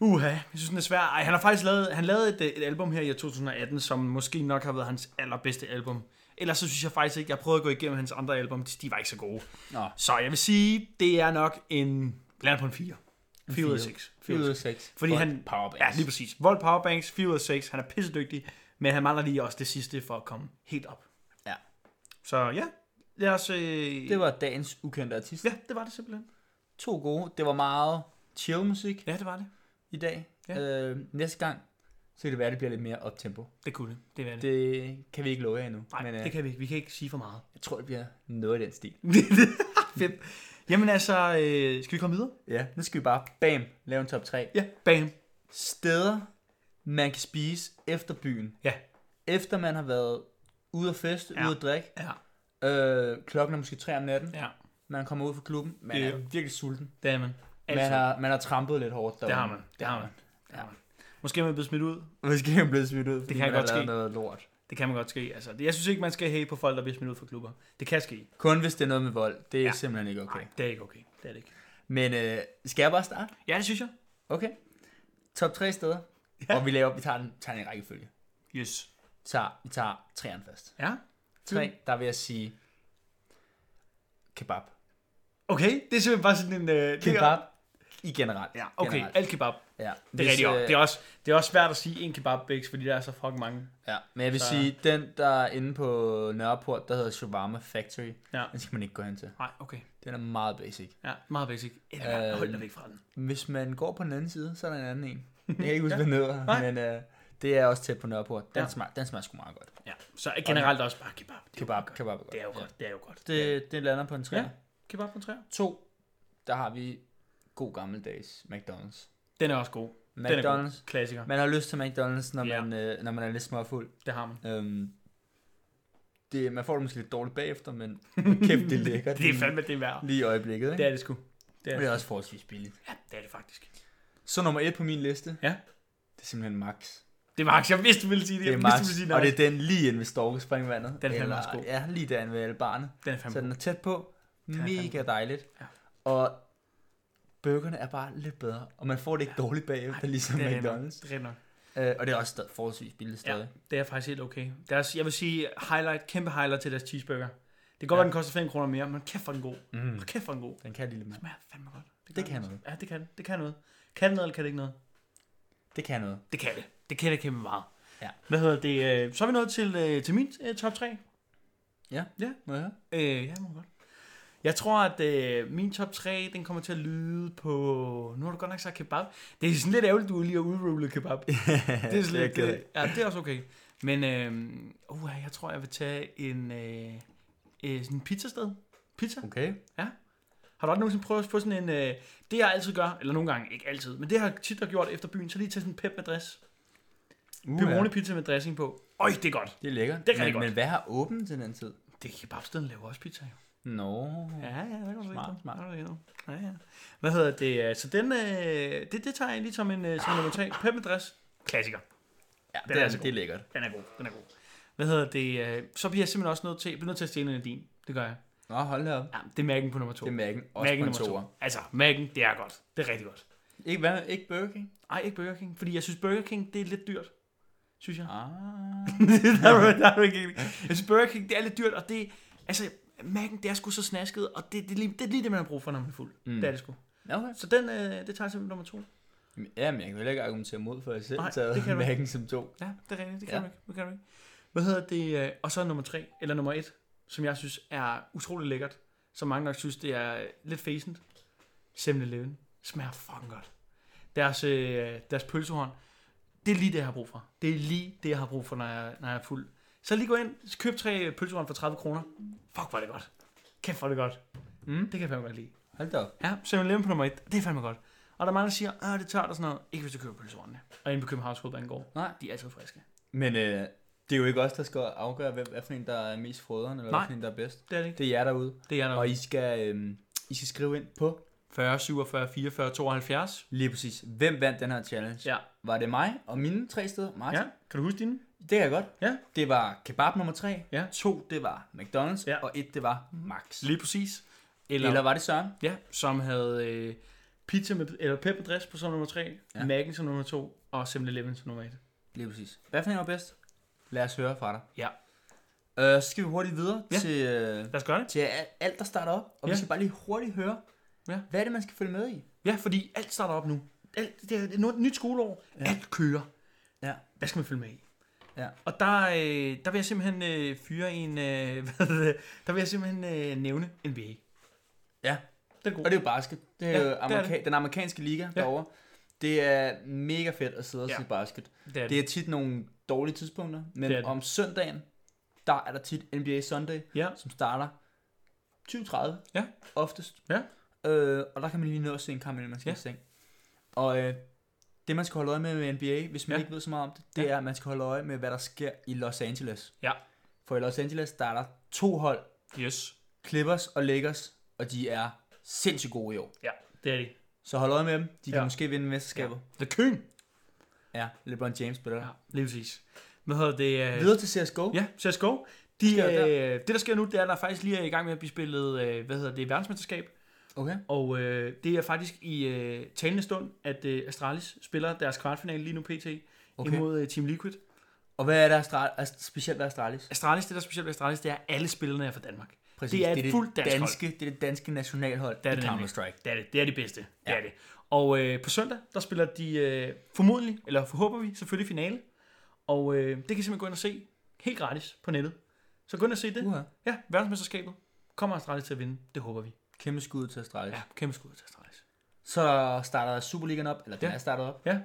[SPEAKER 1] Uha, jeg synes, den er svær. Ej, han har faktisk lavet, han lavede et, øh, et album her i år 2018, som måske nok har været hans allerbedste album. Ellers så synes jeg faktisk ikke, jeg prøvede at gå igennem hans andre album, de var ikke så gode.
[SPEAKER 3] Nå.
[SPEAKER 1] Så jeg vil sige, det er nok en, blandt på en 4. 4 ud af 6.
[SPEAKER 3] 4 ud af 6.
[SPEAKER 1] Fordi han...
[SPEAKER 3] Powerbanks.
[SPEAKER 1] Ja, lige præcis. Volt powerbanks, 4 ud af 6. Han er pissedygtig, men han mangler lige også det sidste for at komme helt op.
[SPEAKER 3] Ja.
[SPEAKER 1] Så ja, lad os... Øh...
[SPEAKER 3] Det var dagens ukendte artist.
[SPEAKER 1] Ja, det var det simpelthen.
[SPEAKER 3] To gode. Det var meget chill musik
[SPEAKER 1] Ja, det var det.
[SPEAKER 3] i dag.
[SPEAKER 1] Ja.
[SPEAKER 3] Øh, næste gang, så kan det være, at det bliver lidt mere optempo.
[SPEAKER 1] Det kunne det. Det var det. det
[SPEAKER 3] Det kan vi ikke love jer endnu.
[SPEAKER 1] Nej,
[SPEAKER 3] men,
[SPEAKER 1] men,
[SPEAKER 3] øh,
[SPEAKER 1] det kan vi ikke. Vi kan ikke sige for meget.
[SPEAKER 3] jeg tror, det bliver noget af den stil.
[SPEAKER 1] Fedt. Jamen altså, øh, skal vi komme videre?
[SPEAKER 3] Ja, nu skal vi bare, bam, lave en top 3.
[SPEAKER 1] Ja, bam.
[SPEAKER 3] Steder, man kan spise efter byen.
[SPEAKER 1] Ja.
[SPEAKER 3] Efter man har været ude at feste,
[SPEAKER 1] Ja.
[SPEAKER 3] ude at drikke.
[SPEAKER 1] Ja.
[SPEAKER 3] Øh, klokken er måske 3 om natten.
[SPEAKER 1] Ja,
[SPEAKER 3] Man kommer ud fra klubben. Man
[SPEAKER 1] Ja.
[SPEAKER 3] er virkelig sulten.
[SPEAKER 1] det er man. Altså,
[SPEAKER 3] Man har, man har trampet lidt hårdt derude.
[SPEAKER 1] Det har man. Det har man. Det har man. Måske er man blevet smidt ud.
[SPEAKER 3] Måske er man blevet smidt ud, fordi
[SPEAKER 1] kan
[SPEAKER 3] man har
[SPEAKER 1] godt
[SPEAKER 3] lavet
[SPEAKER 1] ske.
[SPEAKER 3] noget lort.
[SPEAKER 1] Det kan man godt ske. Altså, jeg synes ikke, man skal hate på folk, der bliver smidt ud fra klubber. Det kan ske.
[SPEAKER 3] Kun hvis det er noget med vold. Det er
[SPEAKER 1] Ja.
[SPEAKER 3] ja. simpelthen ikke okay.
[SPEAKER 1] Nej, det er ikke okay. Det er det ikke.
[SPEAKER 3] Men øh, skal jeg bare starte?
[SPEAKER 1] Ja, det synes jeg.
[SPEAKER 3] Okay. Top 3 steder. Ja. Og vi laver, vi tager den, tager den i rækkefølge.
[SPEAKER 1] Yes.
[SPEAKER 3] Tager, vi tager træerne først.
[SPEAKER 1] Ja.
[SPEAKER 3] Tre,
[SPEAKER 1] Mm.
[SPEAKER 3] der vil jeg sige kebab.
[SPEAKER 1] Okay, det er simpelthen bare sådan en... Øh,
[SPEAKER 3] Kebab i generelt.
[SPEAKER 1] Ja, okay.
[SPEAKER 3] Generelt.
[SPEAKER 1] Alt kebab. Det
[SPEAKER 3] Ja.
[SPEAKER 1] er
[SPEAKER 3] Hvis,
[SPEAKER 1] rigtigt.
[SPEAKER 3] øh,
[SPEAKER 1] Øh... Det, er også, det er også svært at sige en kebab bæks, fordi der er så fucking mange.
[SPEAKER 3] Ja, men jeg vil
[SPEAKER 1] Så-
[SPEAKER 3] så... sige, den der er inde på Nørreport, der hedder Shawarma Factory,
[SPEAKER 1] Ja.
[SPEAKER 3] den skal man ikke gå hen til.
[SPEAKER 1] Nej, okay.
[SPEAKER 3] Den er meget basic.
[SPEAKER 1] Ja, meget basic. Eller, øh...
[SPEAKER 3] Øh,
[SPEAKER 1] Hold dig væk fra den.
[SPEAKER 3] Hvis man går på den anden side, så er der en anden en. Jeg kan ikke huske, hvad den hedder, men øh, det er også tæt på Nørreport. Den,
[SPEAKER 1] Ja.
[SPEAKER 3] ja. smager, den smager sgu meget godt.
[SPEAKER 1] Ja. Så generelt også bare kebab. Det er jo
[SPEAKER 3] Kebab,
[SPEAKER 1] godt.
[SPEAKER 3] kebab er godt.
[SPEAKER 1] Det er jo
[SPEAKER 3] Ja.
[SPEAKER 1] godt. Det er jo godt.
[SPEAKER 3] Det, det lander på en 3.
[SPEAKER 1] Ja.
[SPEAKER 3] Ja.
[SPEAKER 1] Kebab på træer.
[SPEAKER 3] To, der har vi god gammeldags McDonald's.
[SPEAKER 1] Den er også god. Den er god.
[SPEAKER 3] McDonald's.
[SPEAKER 1] Klassiker.
[SPEAKER 3] Man har lyst til McDonald's, når,
[SPEAKER 1] Ja.
[SPEAKER 3] man, øh, når man er lidt småfuld.
[SPEAKER 1] Det har man.
[SPEAKER 3] Øhm, det, man får det måske lidt dårligt bagefter, men kæft, det er lækkert.
[SPEAKER 1] Det er fandme det værd.
[SPEAKER 3] Lige i øjeblikket,
[SPEAKER 1] Det
[SPEAKER 3] ikke?
[SPEAKER 1] er det sgu. Det er
[SPEAKER 3] det
[SPEAKER 1] det,
[SPEAKER 3] er også forholdsvis billigt.
[SPEAKER 1] ja, det, er det faktisk.
[SPEAKER 3] Så nummer et på min liste.
[SPEAKER 1] Ja.
[SPEAKER 3] Det er simpelthen Max.
[SPEAKER 1] Det er Max. Jeg vidste, du ville sige det.
[SPEAKER 3] Det er
[SPEAKER 1] jeg vidste,
[SPEAKER 3] Max,
[SPEAKER 1] du ville sige
[SPEAKER 3] og det
[SPEAKER 1] nej.
[SPEAKER 3] er den lige inden ved Storkespringvandet.
[SPEAKER 1] Den er fandme også god.
[SPEAKER 3] Ja, lige derinde ved alle barnet.
[SPEAKER 1] Den er fandme
[SPEAKER 3] Så den er tæt på.
[SPEAKER 1] er fandme
[SPEAKER 3] Mega
[SPEAKER 1] god.
[SPEAKER 3] dejligt.
[SPEAKER 1] Ja.
[SPEAKER 3] Og burgerne er bare lidt bedre, og man får det ikke dårligt bagefter, ligesom
[SPEAKER 1] det er
[SPEAKER 3] McDonald's.
[SPEAKER 1] Det er nok.
[SPEAKER 3] Øh, og det er også stadig, forholdsvis billigt
[SPEAKER 1] Ja,
[SPEAKER 3] stadig.
[SPEAKER 1] det er faktisk helt okay. Deres, jeg vil sige, highlight, kæmpe highlight til deres cheeseburger. Det kan godt være, den koster 5 kroner mere, men kæft for en god. Mm. Kæft for en god.
[SPEAKER 3] Den kan lille mand.
[SPEAKER 1] Smager fandme godt.
[SPEAKER 3] Det
[SPEAKER 1] gør
[SPEAKER 3] kan
[SPEAKER 1] altså.
[SPEAKER 3] noget.
[SPEAKER 1] Ja, det kan. Det kan noget. Kan det noget, eller kan det ikke noget?
[SPEAKER 3] Det kan noget.
[SPEAKER 1] Det kan det. Det kan det kæmpe meget.
[SPEAKER 3] Ja.
[SPEAKER 1] Hvad hedder det? øh, Så er vi nået til, øh, til min øh, top 3.
[SPEAKER 3] Må jeg høre?
[SPEAKER 1] Øh, ja, må godt. Jeg tror, at øh, min top 3, den kommer til at lyde på... Nu har du godt nok sagt kebab. Det er sådan lidt ærgerligt, du lige har udrullet kebab. det er sådan lidt...
[SPEAKER 3] ked
[SPEAKER 1] Det, ja, det er også okay. Men øh, uh, jeg tror, jeg vil tage en, øh, øh, sådan en pizzasted. Pizza?
[SPEAKER 3] Okay.
[SPEAKER 1] Har du aldrig nogensinde prøvet at få sådan en... Øh, det jeg altid gør, eller nogle gange, ikke altid, men det har jeg tit har gjort efter byen, så lige tage sådan en pep med dress.
[SPEAKER 3] Uh,
[SPEAKER 1] Pepperoni pizza med dressing på. Øj, det er godt.
[SPEAKER 3] Det er lækkert.
[SPEAKER 1] Det kan
[SPEAKER 3] men,
[SPEAKER 1] jeg godt.
[SPEAKER 3] men hvad har åbent til den tid?
[SPEAKER 1] Det er kebabsteden laver også pizza, jo.
[SPEAKER 3] Nå. No.
[SPEAKER 1] Ja, ja, der kan du se
[SPEAKER 3] Smart,
[SPEAKER 1] det.
[SPEAKER 3] smart.
[SPEAKER 1] Der kan du se det. Ja, ja. Hvad hedder det? øh, Så den, øh, det, det tager jeg lige som en, øh, som en notat. Pep med dress. Klassiker.
[SPEAKER 3] Ja,
[SPEAKER 1] er
[SPEAKER 3] det, er,
[SPEAKER 1] altså god.
[SPEAKER 3] det er lækkert.
[SPEAKER 1] Den er god, den er god. Hvad hedder det? øh, Så bliver jeg simpelthen også nødt til, jeg bliver nødt til at stjæle en af din. Det gør jeg.
[SPEAKER 3] Nå, hold da op.
[SPEAKER 1] Ja, det er mærken på nummer to.
[SPEAKER 3] Det er mærken. Også
[SPEAKER 1] mærken
[SPEAKER 3] Mærken på en
[SPEAKER 1] nummer
[SPEAKER 3] toer.
[SPEAKER 1] to. Altså, mærken, det er godt. Det er rigtig godt.
[SPEAKER 3] Ikke, hvad, ikke Burger King?
[SPEAKER 1] Ej, ikke Burger King. Fordi jeg synes, Burger King, det er lidt dyrt. Synes jeg.
[SPEAKER 3] Ah.
[SPEAKER 1] der er, du- der er du ikke enig. Jeg synes, Burger King, det er lidt dyrt, og det... Altså, Mac'en, det er sgu så snasket, og det, det, er lige, det er lige det, man har brug for, når man er fuld. Mm. Det er det sgu.
[SPEAKER 3] Okay.
[SPEAKER 1] Så den, øh, det tager jeg simpelthen nummer to.
[SPEAKER 3] Ja, men jeg kan heller ikke argumentere mod, for jeg selv
[SPEAKER 1] Nej,
[SPEAKER 3] Nej,
[SPEAKER 1] det
[SPEAKER 3] taget
[SPEAKER 1] kan du
[SPEAKER 3] mærken som to.
[SPEAKER 1] Ja, det er rigtigt. Det kan,
[SPEAKER 3] Ja.
[SPEAKER 1] ja. du, ikke. det kan du ikke. Hvad hedder det? øh, Og så nummer tre, eller nummer et, som jeg synes er utrolig lækkert. Som mange nok synes, det er lidt fæsent. 7-Eleven. Smager fucking godt. Deres, øh, deres pølsehorn. Det er lige det, jeg har brug for. Det er lige det, jeg har brug for, når jeg, når jeg er fuld. Så lige gå ind, køb tre pølsehorn for 30 kroner. Fuck, hvor er det godt. Kæft, hvor er det godt. Mm. Det kan jeg fandme godt lide.
[SPEAKER 3] Hold da op.
[SPEAKER 1] Ja, 7-Eleven på nummer et. Det er fandme godt. Og der er mange, der siger, at det er tørt og sådan noget. Ikke hvis du køber pølsehornene. Og inde på Københavns Hovedbanegård.
[SPEAKER 3] Nej.
[SPEAKER 1] De er altid friske.
[SPEAKER 3] Men øh, det er jo ikke os, der skal afgøre, hvem, hvad for en, der er mest frøderen, eller
[SPEAKER 1] Nej.
[SPEAKER 3] hvad for en, der er bedst.
[SPEAKER 1] Det er det ikke.
[SPEAKER 3] Det er jer derude.
[SPEAKER 1] Det er der.
[SPEAKER 3] Og I skal, øh, I skal skrive ind på
[SPEAKER 1] 40, 47, 44, 72.
[SPEAKER 3] lige præcis, hvem vandt den her challenge.
[SPEAKER 1] Ja.
[SPEAKER 3] Var det mig og mine tre steder? Martin?
[SPEAKER 1] ja. Kan du huske dine?
[SPEAKER 3] Det kan jeg godt.
[SPEAKER 1] Altså. Ja.
[SPEAKER 3] Det var kebab nummer tre.
[SPEAKER 1] Ja.
[SPEAKER 3] To, det var McDonald's.
[SPEAKER 1] Ja.
[SPEAKER 3] Og et, det var Max.
[SPEAKER 1] Lige præcis. Eller,
[SPEAKER 3] Eller,
[SPEAKER 1] eller
[SPEAKER 3] var det Søren?
[SPEAKER 1] ja, som havde øh, pizza med, eller pep med dress på som nummer 3, ja.
[SPEAKER 3] Ja.
[SPEAKER 1] Mac'en som nummer 2 og 7-Eleven som nummer 1.
[SPEAKER 3] Lige præcis. Hvad for en var bedst? Lad os høre fra dig.
[SPEAKER 1] Ja.
[SPEAKER 3] Øh, så skal vi hurtigt videre
[SPEAKER 1] Ja.
[SPEAKER 3] ja. til, øh,
[SPEAKER 1] Lad os gøre det.
[SPEAKER 3] til al- alt, der starter op. Og ja.
[SPEAKER 1] Ja.
[SPEAKER 3] vi skal bare lige hurtigt høre,
[SPEAKER 1] Ja.
[SPEAKER 3] hvad er det, man skal følge med i?
[SPEAKER 1] Ja, fordi alt starter op nu. Alt, det er et nyt- nyt skoleår. Ja. Alt kører.
[SPEAKER 3] Ja.
[SPEAKER 1] Hvad skal man følge med i?
[SPEAKER 3] Ja.
[SPEAKER 1] Og der, øh, der vil jeg simpelthen øh, fyre en... Øh, hvad hedder det? der vil jeg simpelthen øh, nævne NBA. Den
[SPEAKER 3] Ja,
[SPEAKER 1] er god.
[SPEAKER 3] og det er jo basket. Det er
[SPEAKER 1] Ja,
[SPEAKER 3] ja, jo
[SPEAKER 1] det er
[SPEAKER 3] amerika-
[SPEAKER 1] det.
[SPEAKER 3] den amerikanske liga ja. derovre. Det er mega fedt at sidde og
[SPEAKER 1] Ja.
[SPEAKER 3] ja. se basket.
[SPEAKER 1] det er
[SPEAKER 3] Det er tit nogle dårlige tidspunkter, men
[SPEAKER 1] Det er
[SPEAKER 3] det
[SPEAKER 1] det.
[SPEAKER 3] om søndagen, der er der tit NBA Sunday,
[SPEAKER 1] Ja.
[SPEAKER 3] som starter 20.30
[SPEAKER 1] Ja.
[SPEAKER 3] oftest.
[SPEAKER 1] Ja.
[SPEAKER 3] Øh, og der kan man lige nå at se en kamp, inden man skal
[SPEAKER 1] Ja.
[SPEAKER 3] ja. i seng. Og øh, det, man skal holde øje med med NBA, hvis man
[SPEAKER 1] Ja.
[SPEAKER 3] ja. ikke ved så meget om det, det
[SPEAKER 1] Ja.
[SPEAKER 3] ja. er, at man skal holde øje med, hvad der sker i Los Angeles.
[SPEAKER 1] Ja.
[SPEAKER 3] For i Los Angeles, der er der to hold,
[SPEAKER 1] Yes.
[SPEAKER 3] Clippers og Lakers, og de er sindssygt gode i år.
[SPEAKER 1] Ja, det er det.
[SPEAKER 3] Så hold øje med dem. De kan
[SPEAKER 1] Ja.
[SPEAKER 3] ja. måske vinde mesterskabet.
[SPEAKER 1] The Køn.
[SPEAKER 3] Ja. ja, LeBron James spiller.
[SPEAKER 1] Ja,
[SPEAKER 3] Ja.
[SPEAKER 1] lige præcis. Hvad hedder det? Øh,
[SPEAKER 3] Videre til CSGO.
[SPEAKER 1] Ja, CSGO. De,
[SPEAKER 3] sker der?
[SPEAKER 1] øh, det, der sker nu, det er, at der faktisk lige er i gang med at blive spillet, øh, hvad hedder det, verdensmesterskab.
[SPEAKER 3] Okay.
[SPEAKER 1] Og øh, det er faktisk i øh, talende stund, at øh, Astralis spiller deres kvartfinale lige nu pt. Okay.
[SPEAKER 3] Okay.
[SPEAKER 1] imod øh, Team Liquid.
[SPEAKER 3] Og hvad er der Astral- ast- specielt ved Astralis?
[SPEAKER 1] Astralis, det der er specielt ved Astralis, det er, at alle spillerne er fra Danmark.
[SPEAKER 3] Præcis,
[SPEAKER 1] Det er et fuldt dansk hold.
[SPEAKER 3] danske, Det er det danske nationalhold
[SPEAKER 1] Det er
[SPEAKER 3] i
[SPEAKER 1] det nemlig.
[SPEAKER 3] Counter-Strike.
[SPEAKER 1] Det er det. Det er de bedste. Ja. Det
[SPEAKER 3] Ja.
[SPEAKER 1] er det. Og øh, på søndag, der spiller de øh, formodentlig, eller forhåber vi, selvfølgelig finale. Og øh, det kan I simpelthen gå ind og se helt gratis på nettet. Så gå ind og se det.
[SPEAKER 3] Uha.
[SPEAKER 1] Ja, verdensmesterskabet kommer Astralis til at vinde. Det håber vi.
[SPEAKER 3] Kæmpe skud til Astralis.
[SPEAKER 1] Ja,
[SPEAKER 3] Ja.
[SPEAKER 1] kæmpe skud til Astralis.
[SPEAKER 3] Så starter Superligaen op, eller den
[SPEAKER 1] Ja.
[SPEAKER 3] er startet op.
[SPEAKER 1] Ja.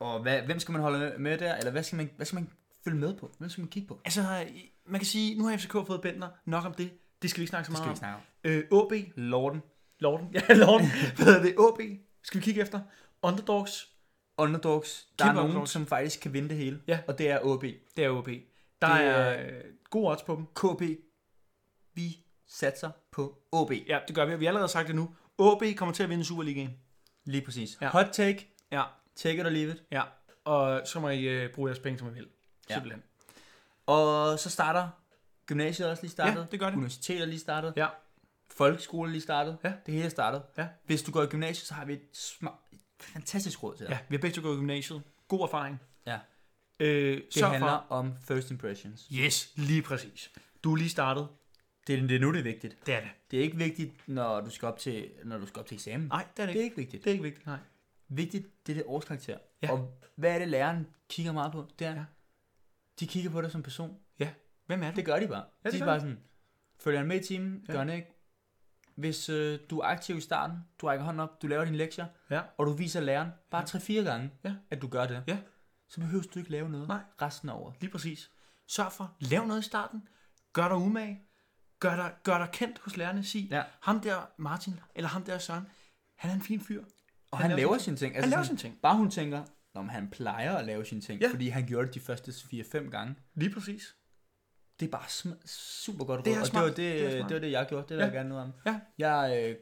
[SPEAKER 3] Og hvad, hvem skal man holde med der, eller hvad skal man, hvad skal man følge med på? Hvem skal man kigge på?
[SPEAKER 1] Altså, i- man kan sige, nu har FCK fået Bentner. Nok om det. Det skal vi ikke snakke så
[SPEAKER 3] Det skal vi ikke
[SPEAKER 1] meget
[SPEAKER 3] snakke om.
[SPEAKER 1] om. Øh, OB.
[SPEAKER 3] Lorden.
[SPEAKER 1] Lorden. Ja, Lorden. Hvad hedder det? OB. Skal vi kigge efter? Underdogs.
[SPEAKER 3] Underdogs. Der
[SPEAKER 1] Kæmpe
[SPEAKER 3] er nogen,
[SPEAKER 1] underdogs.
[SPEAKER 3] som faktisk kan vinde det hele.
[SPEAKER 1] Ja.
[SPEAKER 3] Og det er OB.
[SPEAKER 1] Det er OB. Der
[SPEAKER 3] Det
[SPEAKER 1] er øh, gode odds på dem.
[SPEAKER 3] KB. Vi satser på OB.
[SPEAKER 1] Ja, det gør vi. og Vi har allerede sagt det nu. OB kommer til at vinde Superligaen.
[SPEAKER 3] Lige præcis.
[SPEAKER 1] Ja.
[SPEAKER 3] Ja. Hot take.
[SPEAKER 1] Ja.
[SPEAKER 3] Take it or leave it.
[SPEAKER 1] Ja. Og så må I øh, bruge jeres penge, som I vil.
[SPEAKER 3] Ja.
[SPEAKER 1] Simpelthen.
[SPEAKER 3] Og så starter gymnasiet også lige startet.
[SPEAKER 1] Ja, det gør det.
[SPEAKER 3] Universitetet er lige startet.
[SPEAKER 1] Ja.
[SPEAKER 3] Folkeskole er lige startet.
[SPEAKER 1] Ja.
[SPEAKER 3] Det hele er startet.
[SPEAKER 1] Ja.
[SPEAKER 3] Hvis du går i gymnasiet, så har vi et, sma- et fantastisk råd til dig.
[SPEAKER 1] Ja, vi har begge to gået i gymnasiet. God erfaring.
[SPEAKER 3] Ja.
[SPEAKER 1] Øh,
[SPEAKER 3] Det Sørg handler for. om first impressions.
[SPEAKER 1] Yes, lige præcis. Du er lige startet.
[SPEAKER 3] Det, er- det er nu, det er vigtigt.
[SPEAKER 1] Det er det.
[SPEAKER 3] Det er ikke vigtigt, når du skal op til, når du skal op til eksamen.
[SPEAKER 1] Nej, det er
[SPEAKER 3] Det er
[SPEAKER 1] det ikke.
[SPEAKER 3] ikke vigtigt.
[SPEAKER 1] Det er ikke vigtigt, nej.
[SPEAKER 3] Vigtigt, det er det årskarakter.
[SPEAKER 1] Ja.
[SPEAKER 3] Og hvad er det, læreren kigger meget på? Det er,
[SPEAKER 1] Ja.
[SPEAKER 3] ja. de kigger på dig som person.
[SPEAKER 1] Ja. Hvem er du?
[SPEAKER 3] Det gør de bare.
[SPEAKER 1] Ja,
[SPEAKER 3] Ja,
[SPEAKER 1] det
[SPEAKER 3] de
[SPEAKER 1] gør
[SPEAKER 3] er bare sådan, følger han med i timen,
[SPEAKER 1] Ja.
[SPEAKER 3] ja. gør han ikke. Hvis øh, du er aktiv i starten, du rækker hånden op, du laver dine lektier,
[SPEAKER 1] Ja.
[SPEAKER 3] og du viser læreren bare ja. 3-4 gange,
[SPEAKER 1] Ja.
[SPEAKER 3] at du gør det,
[SPEAKER 1] Ja.
[SPEAKER 3] så behøver du ikke lave noget
[SPEAKER 1] Nej.
[SPEAKER 3] resten af året.
[SPEAKER 1] Lige præcis. Sørg for, lav noget i starten. Gør dig umage. Gør dig, gør dig kendt hos lærerne. Sig,
[SPEAKER 3] Ja.
[SPEAKER 1] ham der Martin, eller ham der Søren, han er en fin fyr.
[SPEAKER 3] Og han,
[SPEAKER 1] laver
[SPEAKER 3] han laver sine ting. Altså
[SPEAKER 1] Han laver sine ting.
[SPEAKER 3] Bare hun tænker, når han plejer at lave sine ting,
[SPEAKER 1] Ja.
[SPEAKER 3] ja. fordi han gjorde det de første 4-5 gange.
[SPEAKER 1] Lige præcis.
[SPEAKER 3] Det er bare sm- super godt
[SPEAKER 1] Det er
[SPEAKER 3] råd, og
[SPEAKER 1] smart.
[SPEAKER 3] det var det,
[SPEAKER 1] Det er
[SPEAKER 3] det,
[SPEAKER 1] smart.
[SPEAKER 3] det, var det, jeg gjorde. Det vil
[SPEAKER 1] Ja.
[SPEAKER 3] ja. jeg gerne noget om.
[SPEAKER 1] Ja.
[SPEAKER 3] Jeg øh,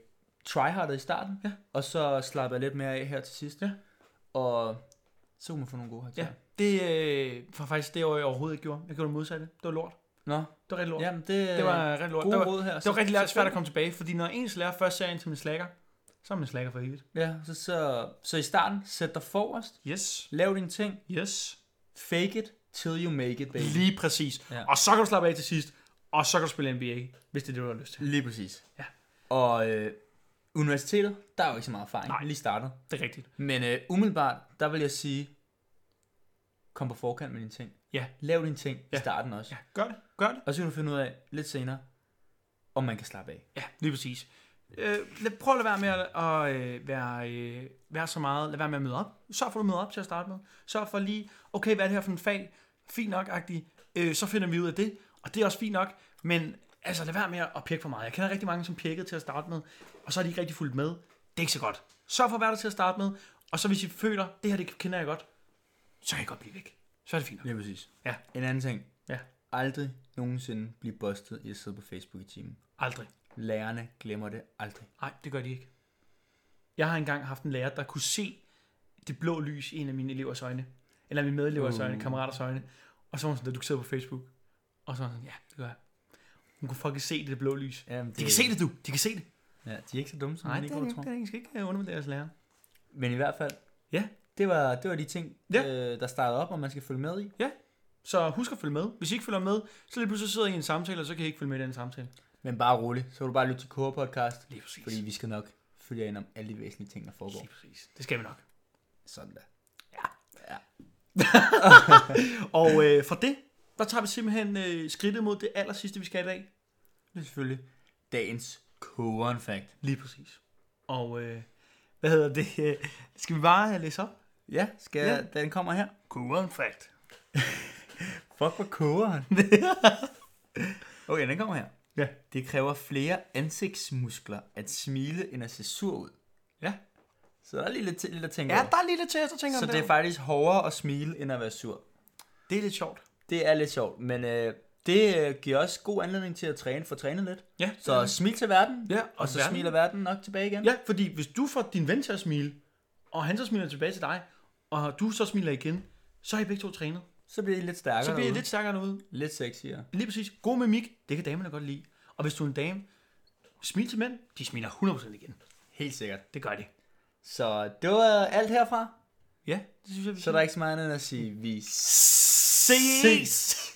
[SPEAKER 3] tryhardede i starten,
[SPEAKER 1] Ja.
[SPEAKER 3] og så slapper jeg lidt mere af her til sidst.
[SPEAKER 1] Ja.
[SPEAKER 3] Og så kunne man få nogle gode karakterer.
[SPEAKER 1] Ja. Det øh, var faktisk det, år, jeg overhovedet ikke gjorde. Jeg gjorde det modsatte. Det var lort.
[SPEAKER 3] Nå,
[SPEAKER 1] Det var rigtig lort.
[SPEAKER 3] jamen det,
[SPEAKER 1] Det var rigtig lort.
[SPEAKER 3] gode
[SPEAKER 1] Det var,
[SPEAKER 3] råd her.
[SPEAKER 1] det var rigtig lært, svært at komme tilbage, fordi når ens lærer først ser en til min slækker, så er man slækker for evigt.
[SPEAKER 3] Ja, så, så, så i starten, sæt dig forrest,
[SPEAKER 1] Yes.
[SPEAKER 3] lav dine ting,
[SPEAKER 1] Yes.
[SPEAKER 3] fake it till you make it, baby.
[SPEAKER 1] Lige præcis. Ja.
[SPEAKER 3] Ja.
[SPEAKER 1] Og så kan du slappe af til sidst, og så kan du spille NBA, hvis det er det, du har lyst til.
[SPEAKER 3] Lige præcis.
[SPEAKER 1] Ja.
[SPEAKER 3] Og øh, universitetet, der er jo ikke så meget erfaring,
[SPEAKER 1] Nej.
[SPEAKER 3] lige startet.
[SPEAKER 1] Det er rigtigt.
[SPEAKER 3] Men øh, umiddelbart, der vil jeg sige, kom på forkant med dine ting.
[SPEAKER 1] Ja.
[SPEAKER 3] Lav dine ting
[SPEAKER 1] Ja.
[SPEAKER 3] i starten også.
[SPEAKER 1] Ja, gør det. Gør det.
[SPEAKER 3] Og så kan du finde ud af lidt senere, om man kan slappe af.
[SPEAKER 1] Ja, lige præcis. Øh, lad, prøv at lade være med at, at øh, være, øh, være så meget. Lad være med at møde op. Sørg for, at du møder op til at starte med. Sørg for lige, okay, hvad er det her for en fag? Fint nok, agtig. Øh, så finder vi ud af det. Og det er også fint nok. Men altså, lad være med at pjekke for meget. Jeg kender rigtig mange, som pjekkede til at starte med. Og så er de ikke rigtig fulgt med. Det er ikke så godt. Sørg for at være der til at starte med. Og så hvis I føler, det her det kender jeg godt, så kan I godt blive væk. Så er det fint nok.
[SPEAKER 3] Lige præcis.
[SPEAKER 1] Ja.
[SPEAKER 3] En anden ting.
[SPEAKER 1] Ja.
[SPEAKER 3] Aldrig nogensinde blive bustet i at sidde på Facebook i timen.
[SPEAKER 1] Aldrig.
[SPEAKER 3] Lærerne glemmer det aldrig.
[SPEAKER 1] Nej, det gør de ikke. Jeg har engang haft en lærer, der kunne se det blå lys i en af mine elevers øjne. Eller mine medelevers
[SPEAKER 3] Uh.
[SPEAKER 1] øjne, kammeraters øjne. Og så var hun sådan, du kan sidde på Facebook. Og så var hun sådan, ja, det gør jeg. Hun kunne fucking se det blå lys.
[SPEAKER 3] Jamen,
[SPEAKER 1] De kan se det, du. De kan se det.
[SPEAKER 3] Ja, de er ikke så dumme, som
[SPEAKER 1] Nej,
[SPEAKER 3] man
[SPEAKER 1] det
[SPEAKER 3] ikke
[SPEAKER 1] er
[SPEAKER 3] går,
[SPEAKER 1] det
[SPEAKER 3] tror.
[SPEAKER 1] ikke. Det skal ikke undervurdere deres lærer.
[SPEAKER 3] Men i hvert fald,
[SPEAKER 1] Ja.
[SPEAKER 3] det var, det var de ting,
[SPEAKER 1] Ja.
[SPEAKER 3] øh, der startede op, og man skal følge med i.
[SPEAKER 1] Så husk at følge med. Hvis I ikke følger med, så lige pludselig sidder I i en samtale, og så kan I ikke følge med i den samtale.
[SPEAKER 3] Men bare rolig, så kan du bare lytte til Kåre podcast,
[SPEAKER 1] Lige præcis.
[SPEAKER 3] fordi vi skal nok følger ind om alle de væsentlige ting, der foregår.
[SPEAKER 1] Præcis. Det skal vi nok.
[SPEAKER 3] Sådan der.
[SPEAKER 1] Og øh, fra det, der tager vi simpelthen øh, skridtet mod det aller sidste, vi skal i dag.
[SPEAKER 3] Det er selvfølgelig dagens koren fact.
[SPEAKER 1] Lige præcis. Og øh, hvad hedder det? Øh, Skal vi bare øh, læse op?
[SPEAKER 3] Ja, skal ja. den kommer her.
[SPEAKER 1] Cool fact.
[SPEAKER 3] Fuck, hvor koger han? okay, den kommer her.
[SPEAKER 1] Ja.
[SPEAKER 3] Det kræver flere ansigtsmuskler at smile, end at se sur ud.
[SPEAKER 1] Ja.
[SPEAKER 3] Så der er lige lidt, til- lidt at tænke
[SPEAKER 1] Ja,
[SPEAKER 3] over.
[SPEAKER 1] der er lige lidt til, jeg så tænker
[SPEAKER 3] Så
[SPEAKER 1] om
[SPEAKER 3] det er faktisk hårdere at smile, end at være sur.
[SPEAKER 1] det er lidt sjovt.
[SPEAKER 3] Det er lidt sjovt, men øh, det øh, giver også god anledning til at træne, få trænet lidt.
[SPEAKER 1] Ja.
[SPEAKER 3] Så smil til verden,
[SPEAKER 1] Ja,
[SPEAKER 3] og så
[SPEAKER 1] verden.
[SPEAKER 3] smiler verden nok tilbage igen.
[SPEAKER 1] Ja, fordi hvis du får din ven til at smile, og han så smiler tilbage til dig, og du så smiler igen, så er I begge to trænet.
[SPEAKER 3] Så bliver I lidt stærkere
[SPEAKER 1] Så bliver I
[SPEAKER 3] derude.
[SPEAKER 1] lidt stærkere derude.
[SPEAKER 3] lidt sexyere.
[SPEAKER 1] Lige præcis. God mimik, det kan damerne godt lide. Og hvis du er en dame, smil til mænd, de smiler 100% igen.
[SPEAKER 3] Helt sikkert.
[SPEAKER 1] Det gør de.
[SPEAKER 3] Så det var alt herfra.
[SPEAKER 1] Ja, det synes jeg, vi
[SPEAKER 3] Så er der ikke så meget andet end at sige, vi
[SPEAKER 1] ses.